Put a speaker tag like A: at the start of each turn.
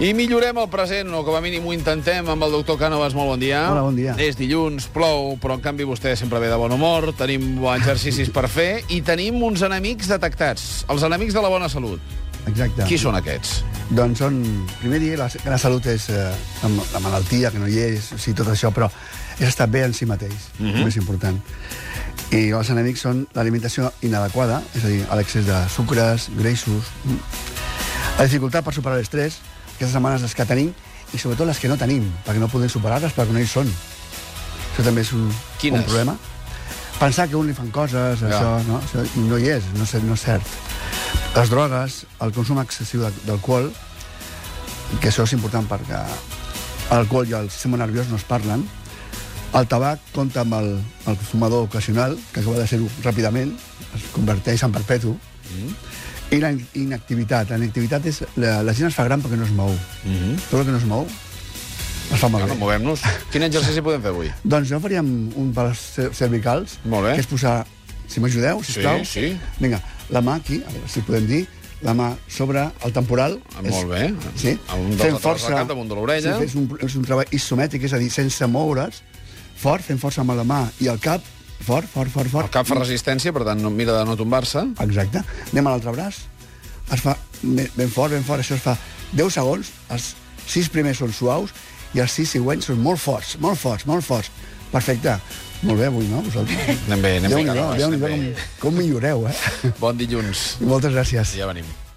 A: I millorem el present, o com a mínim ho intentem, amb el doctor Cànovas. Molt bon dia.
B: Hola, bon dia.
A: És dilluns, plou, però en canvi vostè sempre ve de bon humor, tenim exercicis per fer i tenim uns enemics detectats, els enemics de la bona salut.
B: Exacte.
A: Qui són aquests?
B: Doncs són... Primer dir, la, que la salut és eh, la, la malaltia, que no hi és, o sigui, tot això, però és estar bé en si mateix, mm
A: Mhm.
B: -hmm. més important. I els enemics són l'alimentació inadequada, és a dir, l'excés de sucres, greixos, mm. la dificultat per superar l'estrès, aquestes setmanes les que tenim, i sobretot les que no tenim, perquè no podem superar-les, perquè no hi són. Això també és un,
A: Quines?
B: un problema. Pensar que a un li fan coses,
A: Ja.
B: això, no? Això no hi és, no, és- no és cert. Les drogues, el consum excessiu d'al- d'alcohol, que això és important perquè l'alcohol i el sistema nerviós no es parlen. El tabac compta amb el, el fumador ocasional, que acaba de ser-ho ràpidament, es converteix en perpetu. Mm. I la in- inactivitat. La inactivitat és... La, la gent es fa gran perquè no es mou. Mm. Tot el que no es mou es fa
A: Ah,
B: malbé.
A: no, movem-nos. Quin exercici podem fer avui?
B: Doncs jo faríem un per les cer- cervicals,
A: Molt bé.
B: que és posar, si m'ajudeu, sisplau.
A: sí.
B: Vinga, la mà aquí, a veure si podem dir, la mà sobre el temporal.
A: Ah, molt bé.
B: Sí.
A: Amb un dels
B: fent
A: laterals
B: força.
A: del cap, damunt de l'orella.
B: Sí, és un, és un treball isomètric, és a dir, sense moure's, fort, fent força amb la mà i el cap, fort, fort, fort, fort.
A: El cap fa resistència, per tant, no, mira de no tombar-se.
B: Exacte. Anem a l'altre braç. Es fa ben, ben fort, ben fort. Això es fa 10 segons. Els sis primers són suaus i els sis següents són molt forts, molt forts, molt forts. Perfecte. Molt bé avui, no? Vosaltres?
A: Anem bé, anem bé,
B: Déu-n'hi-do,
A: Carles,
B: Déu-n'hi-do
A: anem
B: com, com milloreu, eh?
A: Bon dilluns.
B: Moltes gràcies.
A: Ja venim.